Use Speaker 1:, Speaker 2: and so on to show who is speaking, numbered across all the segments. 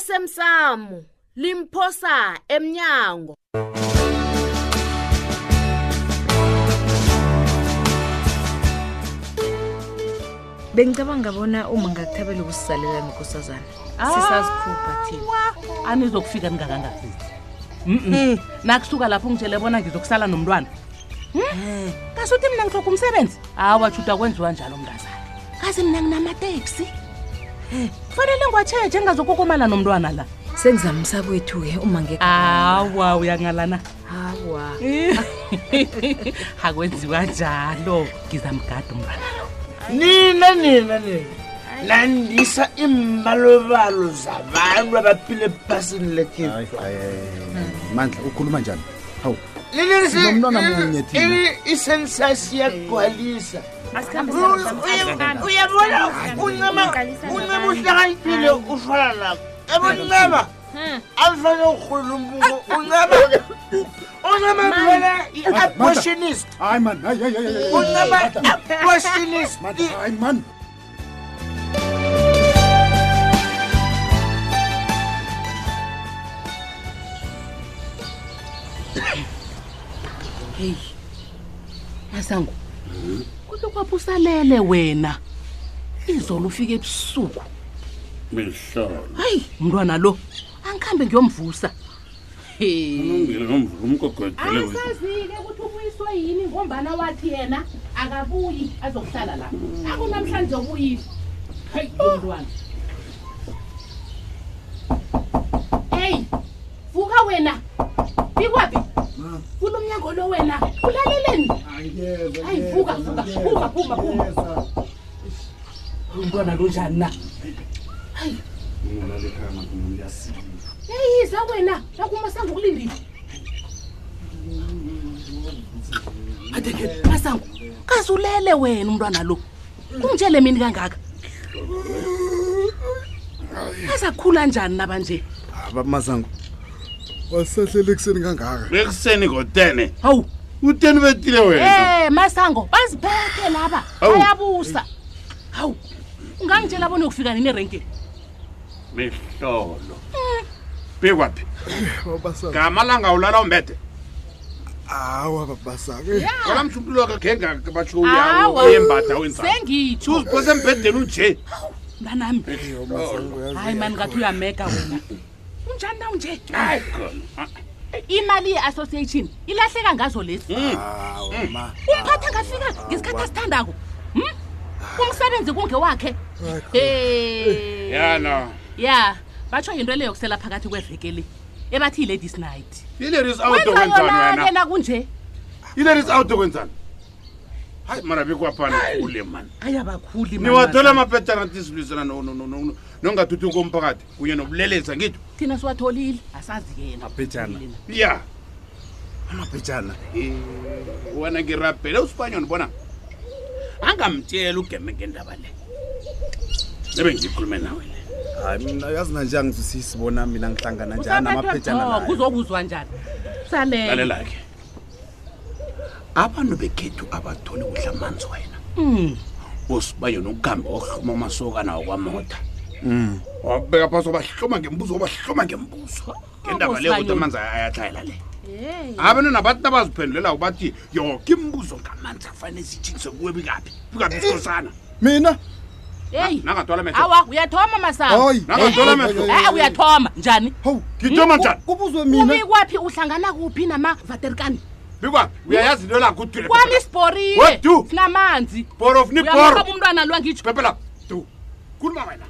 Speaker 1: esemsamo limphosa emnyango
Speaker 2: bengicabanga bona uma ngakuthabela ukusisalela nkosazana
Speaker 3: Ah.
Speaker 2: sisazikhupha thina
Speaker 3: anizokufika ningakangafiki mm nakusuka lapho ngitshele bona ngizokusala nomntwana Hmm? kasuthi mina ngihloka umsebenzi hawa tshuda kwenziwa njalo mntazana kazi mina nginamateksi kufanele ngiwatsheje ngingazokokomala nomntwana la
Speaker 2: sengizamisa kwethu-ke uma
Speaker 3: hawa uyangalana
Speaker 2: ngehawa
Speaker 3: akwenziwa njalo ngizamgada umntwana lo
Speaker 4: nina nina nina landisa imbalobalo zabantu abaphile ephasini lekhethu
Speaker 5: mandla ukhuluma njani hawu
Speaker 4: Lelisi-
Speaker 5: Sinomntwana
Speaker 4: leli-
Speaker 5: munye thina.
Speaker 4: ili- isensasi iyagcwalisa U- uya- uyabona uncema uncema uhlakaniphile ufana nako ebuncema alifane urhulumboko uncema uncema vele i-abortionist
Speaker 5: hayi mani hayi hayi hayi, hayi, hayi.
Speaker 4: uncema i-abortionist
Speaker 5: Mandla, hayi mani
Speaker 3: heyi yasangu Hmm. kuke kwapho usalele wena izolo ufike ebusuku
Speaker 6: Bisholo.
Speaker 3: hayi mntwana lo angikhambe ngiyomvusa
Speaker 6: Ngile ngomvuka umgogodele wethu.
Speaker 3: asazike ukuthi ubuyiswe yini ngombana wathi yena akabuyi azokuhlala la akunamhlanje obuyile hayi mntwana heyi vuka wena bikwaphi funa umnyango lo wena ulaleleni hayi vuka vuka vuka phuma phuma umntwana lunjani na eyiza wena nakumasango ukulindile adeke masango kazulele wena umntwana lo ungitshele mini kangaka azakhula njani nabanje
Speaker 5: aba masango wasahlele ekuseni kangaka
Speaker 6: Bekuseni ngo10.
Speaker 3: hawu
Speaker 6: U10 betile wena.
Speaker 3: Eh masango bazibheke laba
Speaker 6: Hawu.
Speaker 3: bayabusa hawu ungangitshela bona ukufika nini erenkeni
Speaker 6: Bisholo. Bikwapi?
Speaker 5: Eh, babasango
Speaker 6: Ngamalanga ulala umbethe.
Speaker 5: awa babasango
Speaker 6: Ngoba mthumbulo kagenga kabacho
Speaker 3: Awa.
Speaker 6: uyawo yembatha wenzani.
Speaker 3: sengitsho
Speaker 6: Uziphose embedeni unje.
Speaker 3: mntanami hayi mani ngathi uyameka wena unjani na unje
Speaker 6: Hayi khona.
Speaker 3: imali ye-association ilahleka ngazo lezi
Speaker 6: Mm.
Speaker 5: ma
Speaker 3: umphathi angafika ngesikhathi asithandako Hmm? umsebenzi kungewakhe Hey.
Speaker 6: Yana.
Speaker 3: ya batsho yinto leyo yokusela phakathi kweveke le ebathi yi-ladies night
Speaker 6: Ileris out
Speaker 3: wenza
Speaker 6: kwenzani
Speaker 3: yona-ke
Speaker 6: wena?
Speaker 3: nakunje
Speaker 6: Ileris out kwenzani? Hayi mara bikwapana ule man.
Speaker 3: ayabakhuli
Speaker 6: Niwathola amaphetshana athi silwisana no no no no. Nongathuthu komphakathi kunye nobulelesa ngithi.
Speaker 3: thina siwatholile asazi yena Yena.
Speaker 6: Ya.
Speaker 5: amabhejana
Speaker 6: wena ngirabhele usipanyoni bona angamtshela ugeme ngendaba le nebe ngikhulume nawe le
Speaker 5: hayi mina yazi nanje angizwisisi bona mina ngihlangana njani
Speaker 3: Usaphathwe
Speaker 5: namabhejana
Speaker 3: buthongo, uzokuzwa njani salela
Speaker 6: lalela-ke abantu bekhethu abatholi kudla amanzi wena
Speaker 3: Hmm.
Speaker 6: usibanyoni ukuhambe wahluma amasokana wakwamota wabeka phasi wabahloma ngembuzo wabahloma ngembuzo ngendaba leyo kuthi
Speaker 3: Sibanyoni.
Speaker 6: amanzi ayatlhayela le abantu nabantu abaziphendulelako bathi yoke imibuzo ngamanzi afanele sitshingise kuwe bikaphi bikaphi sikosana
Speaker 5: mina
Speaker 3: eyi
Speaker 6: nangatwala mehe
Speaker 3: awa uyathoma masango
Speaker 5: hayi
Speaker 6: Nangathola
Speaker 5: hayi,
Speaker 6: amehlo.
Speaker 5: hayi, hayi.
Speaker 3: e uyathoma njani
Speaker 5: hawu
Speaker 6: ngithoma njani
Speaker 5: kubuzwe
Speaker 3: ubi
Speaker 5: mina
Speaker 3: kwaphi uhlangana kuphi namavaterikani
Speaker 6: bikwaphi uyayazi into lakho udule
Speaker 3: kwami
Speaker 6: What
Speaker 3: isiborile
Speaker 6: do?
Speaker 3: sinamanzi
Speaker 6: bhoro funi
Speaker 3: uyamhloba
Speaker 6: bhoro
Speaker 3: umntwana lo angitsho
Speaker 6: phepela tu khuluma wena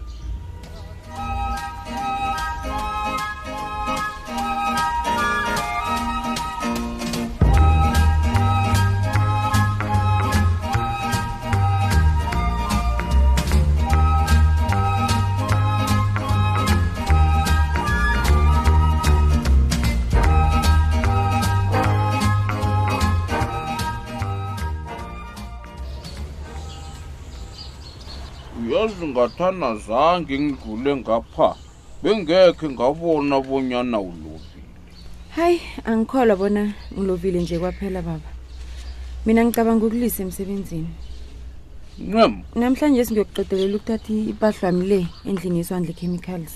Speaker 7: uyazi ngathana zange ngidlule ngapha bengekhe ngabona bonyana ulovile
Speaker 8: hayi angikholwa bona ngilovile nje kwaphela baba mina ngicabanga ukulisa emsebenzini
Speaker 7: ncema
Speaker 8: namhlanje singiyokuqedelela ukuthatha impahla wami le endlini yeswandle chemicals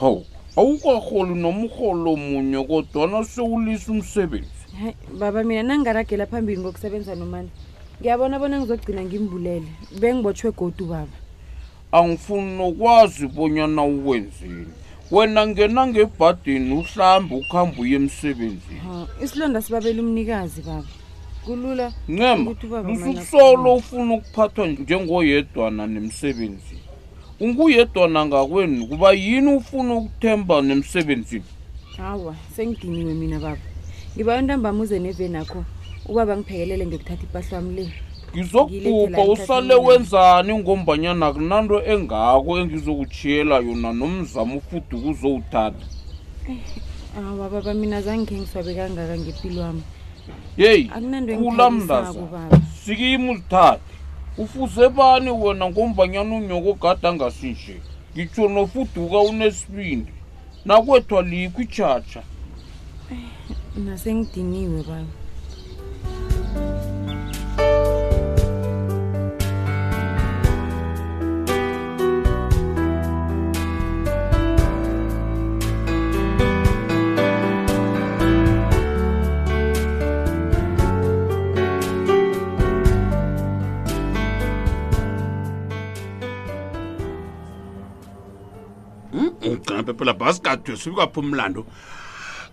Speaker 7: hawu awukarholi nomrholo munye kodwana sewulisa umsebenzi
Speaker 8: hayi baba mina nangingaragela phambili ngokusebenza nomandla ngiyabona bona ngizogcina ngimbulele bengibotshwe godu baba
Speaker 7: angifuni nokwazi bonyana uwenzeni wena ngena ngebhadini uhlambe ukuhambe uye emsebenzini
Speaker 8: Ha, isilonda sibabela umnikazi baba kulula
Speaker 7: ncema
Speaker 8: ukuthi ubaba
Speaker 7: usukusolo ufuna ukuphathwa njengoyedwana nemsebenzini unguyedwana ngakwenu kuba yini ufuna ukuthemba nemsebenzini
Speaker 8: hawa sengidiniwe mina baba ngiba intambami uze nevenakho ubaba ngiphekelele ngiyokuthatha ipahlo wami le
Speaker 7: ngizokubhubha
Speaker 8: Ngilethela
Speaker 7: usale
Speaker 8: emtatweni.
Speaker 7: wenzani ngombanyana kunanto engako engizokutshiyela yona nomzamo ufuduka uzowuthatha
Speaker 8: awa baba mina zange khe ngiswabe kangaka ngempilo wami
Speaker 7: yeyi
Speaker 8: Akunanto
Speaker 7: kula
Speaker 8: engithabisako,
Speaker 7: mndazana
Speaker 8: baba.
Speaker 7: sikimi uzithathe ufuze bani wena ngombanyana unyoko gada ngasinje ngitsho nofuduka unesibindi nakwethwa likho itshatsha
Speaker 8: nasengidiniwe baba
Speaker 6: ugcina phephela bhasi kadwesi ukaphi umlando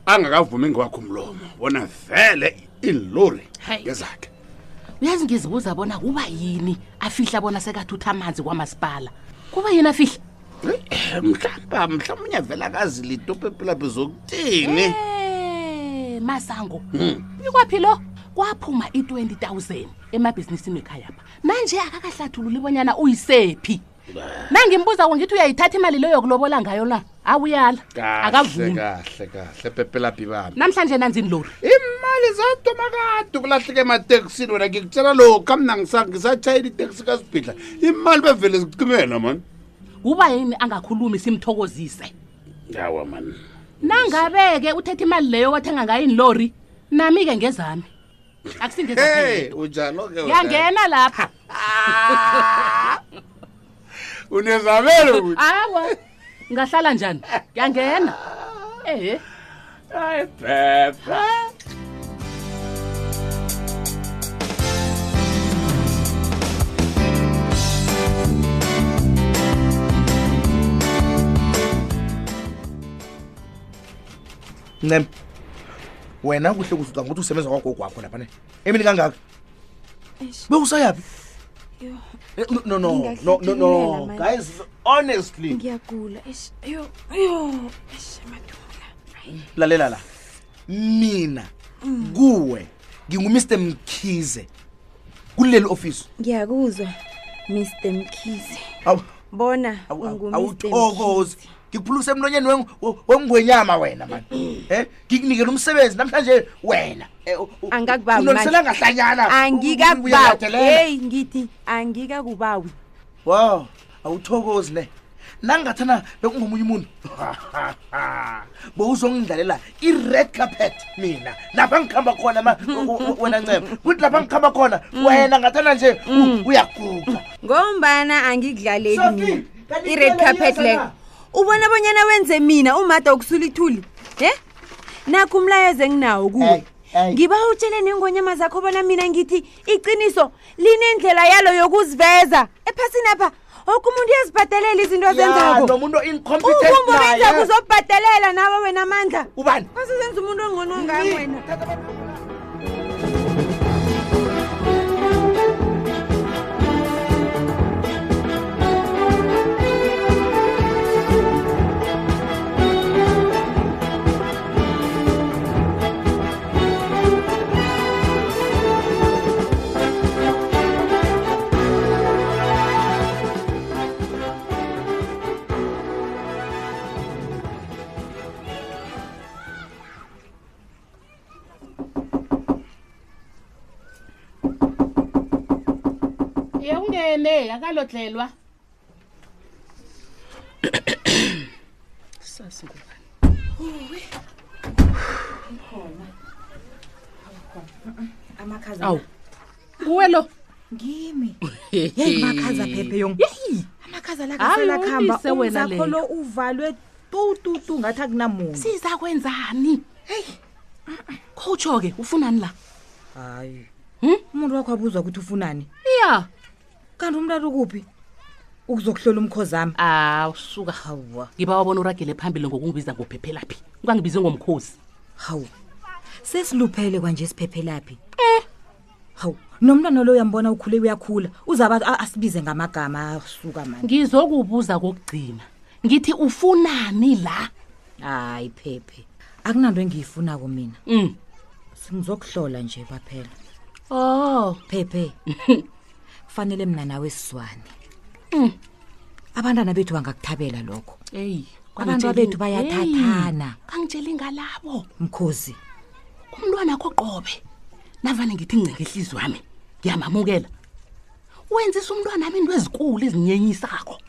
Speaker 6: angakavumi ngewakho umlomo bona vele ilori
Speaker 3: Hayi.
Speaker 6: ngezakhe
Speaker 3: uyazi ngizibuza bona kuba yini afihla bona sekathutha amanzi kwamasipala kuba yini afihla
Speaker 6: Eh, mhlawumba mhlawumunye vele akazilito phephelaphi zokuthini
Speaker 3: Eh, masango
Speaker 6: Hmm.
Speaker 3: ikwaphi lo kwaphuma i-20 000 emabhizinisini ekhaya pha nanje akakahlathululi bonyana uyisephi nangimbuzako ngithi uyayithatha imali leyo yokulobola ngayo la awuyala akavumi
Speaker 6: kahle kahle phephelaphi bami
Speaker 3: namhlanje nanzini lori
Speaker 6: imali zatomakade ukulahleka emateksini wena ngikutshela lokhu mna ngisatshayela iteksi kasibhidla imali bevele zicimela mani
Speaker 3: kuba yini angakhulumi simthokozise
Speaker 6: yawa mani
Speaker 3: nangabe-ke uthetha imali leyo wathenga ngayo inilori nami-ke ngezami
Speaker 6: hey
Speaker 3: akusingezangena
Speaker 6: unjalo ke
Speaker 3: lapha
Speaker 6: unezabelo wena.
Speaker 3: awa ngahlala njani ngiyangena ehe
Speaker 6: Ay, Pepe.
Speaker 4: ncema wena kuhle kusuka ngokuthi usebenza kwagogo wakho laphana emini kangaka bewusayaphi Eh, no, no, no, no, no, no.
Speaker 8: Ngingahlekilelela manje.
Speaker 4: guys honestly
Speaker 8: ngiyagula yo yo emadula
Speaker 4: lalela la mina kuwe ngingumr mkhize kuleli ofisi
Speaker 8: ngiyakuzwa mr mkhize
Speaker 4: Awu,
Speaker 8: bona
Speaker 4: awu, awu, oh,
Speaker 8: ungu-Mr.
Speaker 4: awuthokozi ngikuphulukisa emlonyeni weng- we- wengwenyama wena mani um ngikunikela umsebenzi namhlanje wena Eh, u- u-
Speaker 8: Angikakubawi
Speaker 4: unolisela
Speaker 8: manje.
Speaker 4: ngahlanyana
Speaker 8: angikakubawi
Speaker 4: Uyaladelela.
Speaker 8: heyi ngithi angikakubawi
Speaker 4: wo awuthokozi ne nangingathana bekungomunye umuntu bowuzongidlalela i-red carpet mina lapha ngihamba khona ma- u- u- wena ncema kuthi lapha ngihamba khona wena ngathana nje u- uyaguga
Speaker 8: ngombana angikudlaleli
Speaker 4: Sophie,
Speaker 8: mina
Speaker 4: kanti
Speaker 8: i-red
Speaker 4: kuphela
Speaker 8: carpet
Speaker 4: iyeza
Speaker 8: leyo
Speaker 4: na?
Speaker 8: ubona bonyana wenze mina umada wokusula ithuli e nakho umlayezo enginawo kuwe
Speaker 4: Hey, hey.
Speaker 8: ngiba utshele neengonyama zakho bona mina ngithi iqiniso linendlela yalo yokuziveza ephasini apha oke umuntu uyazibhadalela izinto
Speaker 4: Ya,
Speaker 8: azenzako
Speaker 4: nomuntu incompetent
Speaker 8: ubumbo
Speaker 4: naye.
Speaker 8: benzako uzobhadalela nawe wena amandla
Speaker 4: ubani
Speaker 8: asezenza umuntu ongcono ngam wena
Speaker 3: ye ungene akalodlelwa
Speaker 8: amakhaza
Speaker 3: awu kuwe lo
Speaker 8: ngimi yeyi makhaza phephe yong amakhaza
Speaker 3: Hayi,
Speaker 8: lakaselakuhamba
Speaker 3: ulise wena leyo.
Speaker 8: umzakho lo uvalwe
Speaker 2: tututu ngathi akunamuntu
Speaker 3: siza kwenzani khowutsho-ke ufunani la
Speaker 2: hayi
Speaker 3: Hmm?
Speaker 2: umuntu wakho abuzwa ukuthi ufunani
Speaker 3: iya
Speaker 2: kanti umntu ukuphi ukuzokuhlola umkhozami
Speaker 3: awu suka
Speaker 2: hawa
Speaker 3: ngiba wabona uragele phambili ngokungibiza ngophephelaphi ungangibize ngomkhosi
Speaker 2: hawu sesiluphele kwanje siphephe laphi
Speaker 3: Eh.
Speaker 2: hawu nomntwana lo uyambona ukhule uyakhula uzaba a- asibize ngamagama asuka mani
Speaker 3: ngizokubuza kokugcina ngithi ufunani la
Speaker 2: hayi phephe akunanto engiyifunako mina
Speaker 3: um
Speaker 2: ngizokuhlola nje kwaphela
Speaker 3: oh
Speaker 2: phephe kufanele mna nawe sizwane Mm. abantwana bethu bangakuthabela lokho
Speaker 3: eyi
Speaker 2: abantu abethu bayathathana
Speaker 3: kangitsheli ngalabo
Speaker 2: mkhozi
Speaker 3: umntwana akho qobe navane ngithi ngceke ihliziyo yami ngiyamamukela wenzisa umntwana ami into ezikulu ezinyenyisako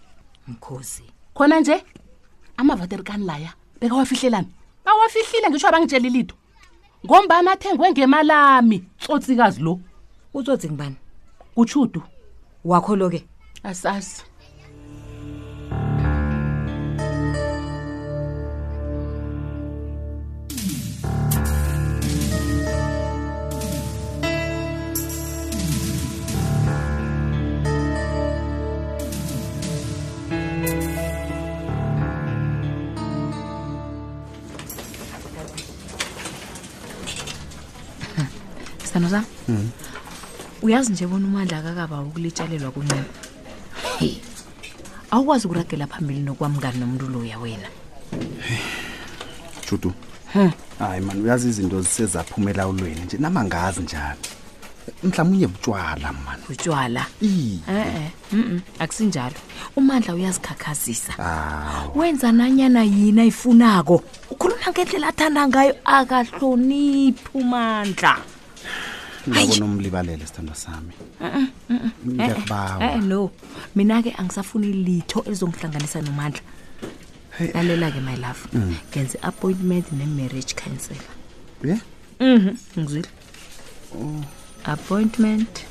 Speaker 2: mkhozi
Speaker 3: khona nje amavaterikani laya bekawafihlelani bawafihlile ngisho abangitsheli litho ngombani athengwe ngemalami tsotsikazi lo
Speaker 2: utsotsi ngibani
Speaker 3: kutshudu
Speaker 2: wakho lo ke
Speaker 3: asazi
Speaker 2: sithando sam uyazi nje bona umandla akakaba ukulitshalelwa kuncema awukwazi ukuragela phambili nokwamngani nomntu loya wena
Speaker 6: judu hayi mani uyazi izinto zisezaphuma elawulweni nje nama ngazi njani mhlawumunye butshwala mani
Speaker 2: utywala
Speaker 6: Iye.
Speaker 2: e-e mm akusinjalo umandla uyazikhakhazisa
Speaker 6: hawu
Speaker 2: wenza nanyana yini ayifunako ukhuluma ngendlela athanda ngayo akahloniphi umandla
Speaker 6: ngabona umlibalele sithandwa sami
Speaker 2: e
Speaker 3: Eh,
Speaker 6: ngiyakubawa
Speaker 2: Eh, no mina-ke angisafuni litho elizongihlanganisa nomandla lalela-ke my love ngenze appointment ne-marriage council
Speaker 6: ye
Speaker 2: Mhm, ngizwile appointment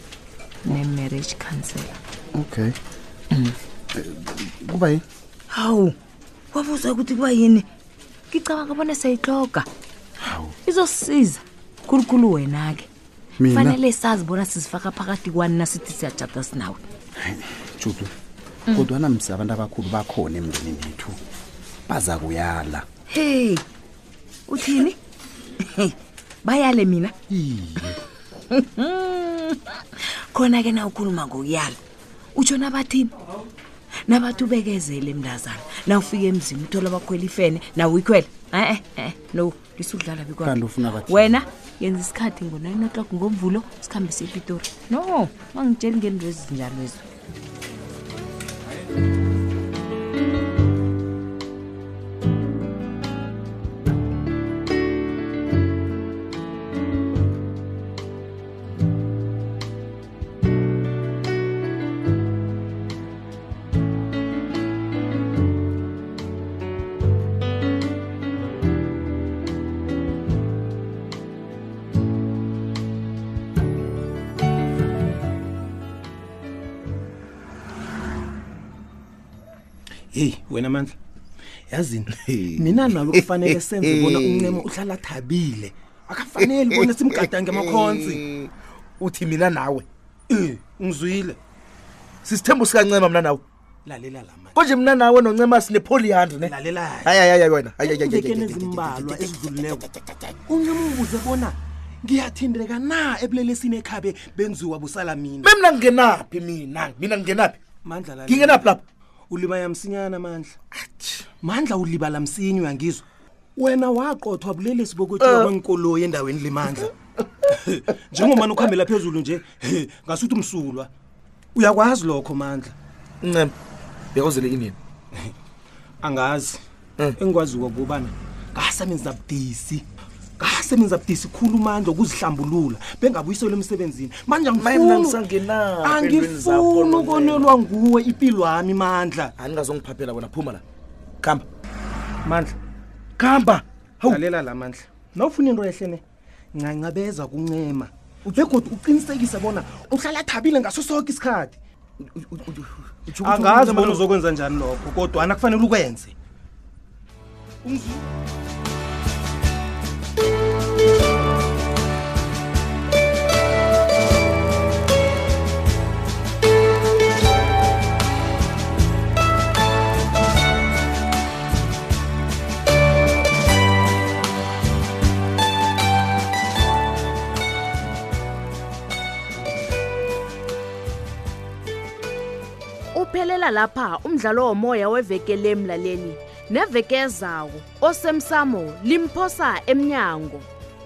Speaker 2: ne-marriage council
Speaker 6: okay Eh, kuba yini
Speaker 2: hawu wabuza ukuthi kuba yini ngicabanga bona siyayihloga
Speaker 6: hawu
Speaker 2: izosisiza khulukhulu wena-ke
Speaker 6: Mina?
Speaker 2: fanele sazi bona sizifaka phakathi kwani nasithi siyajada sinawe
Speaker 6: judu kodwa namsi abantu abakhulu bakhona emndenini yethu baza kuyala
Speaker 2: hey uthini bayale mina khona-ke na ukhuluma ngokuyala utshona bathini nabathi ubekezele mndazana na ufika emzini uthola bakhwela ifene nawe uyikhwela e-e e-e no lisudlala
Speaker 6: Kanti ufuna bathini?
Speaker 2: wena yenza isikhathi ngo-nine o'clock ngomvulo sikhambe sepitori no mangitsheli ngento ezinjalo ezo
Speaker 4: heyi wena mandla yazini mina nawe kufanele senze bona uncema uhlala athabile akafaneli bona simgadange amakhonsi
Speaker 9: uthi mina nawe
Speaker 4: Eh, ngizwile
Speaker 9: sisithembu sikancema mna nawe
Speaker 4: lalela la mandla
Speaker 9: konje mna nawe noncema sinepolihand ne
Speaker 4: lalelayo
Speaker 9: hayayayayi wena Hayi, hayi, hayi, hayi,
Speaker 4: ivekeni
Speaker 9: hayi, hayi,
Speaker 4: ezimbalwa ezidlulileko uncema ubuze bona ngiyathindeka na ebulelesini ekhabe benziwa busala mina
Speaker 9: Me mina ngingenaphi mina mina ngingenaphi
Speaker 4: mandla lalela.
Speaker 9: ngingenaphi lapha
Speaker 4: ulibala msinyana mandla mandla ulibala msinyi uyangizwa wena waqothwa bulelesi bokwethiwa kwenkoloyi endaweni limandla njengomani ukuhambela phezulu nje he, ngasuthi umsulwa uyakwazi lokho mandla
Speaker 9: ncema bekozele inini
Speaker 4: angazi engikwaziwa kubana ngasebenza budisi ngasebenza budisi khulu mandla okuzihlambulula bengabuyiselwa emsebenzini manje
Speaker 9: mina
Speaker 4: angifuni
Speaker 9: ngisangenaphi entweni zakho,
Speaker 4: angifuni
Speaker 9: Nonelo.
Speaker 4: ukonelwa nguwe impilo yami mandla
Speaker 9: aningazongiphaphela wena phuma la khamba
Speaker 4: mandla
Speaker 9: khamba hawu
Speaker 4: lalela la mandla nawufuna into ehle ne ncancabeza kuncema begodwa uqinisekise bona uhlala athabile ngaso soke isikhathi
Speaker 9: Utjho ukuthi
Speaker 4: angazi
Speaker 9: uNcema
Speaker 4: bona
Speaker 9: lo-
Speaker 4: uzokwenza njani lokho kodwana kufanele ukwenze
Speaker 1: uphelela lapha umdlalo womoya wevekele emlaleli neveke ezawo osemsamo limphosa emnyango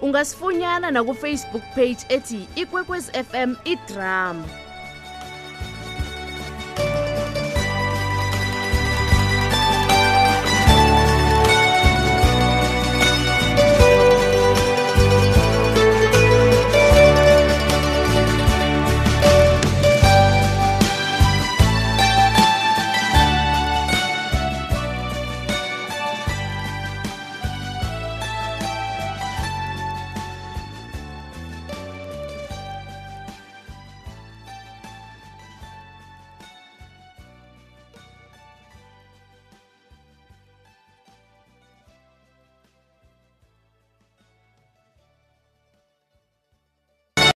Speaker 1: ungasifunyana nakufacebook page ethi ikwekwezi fm idrama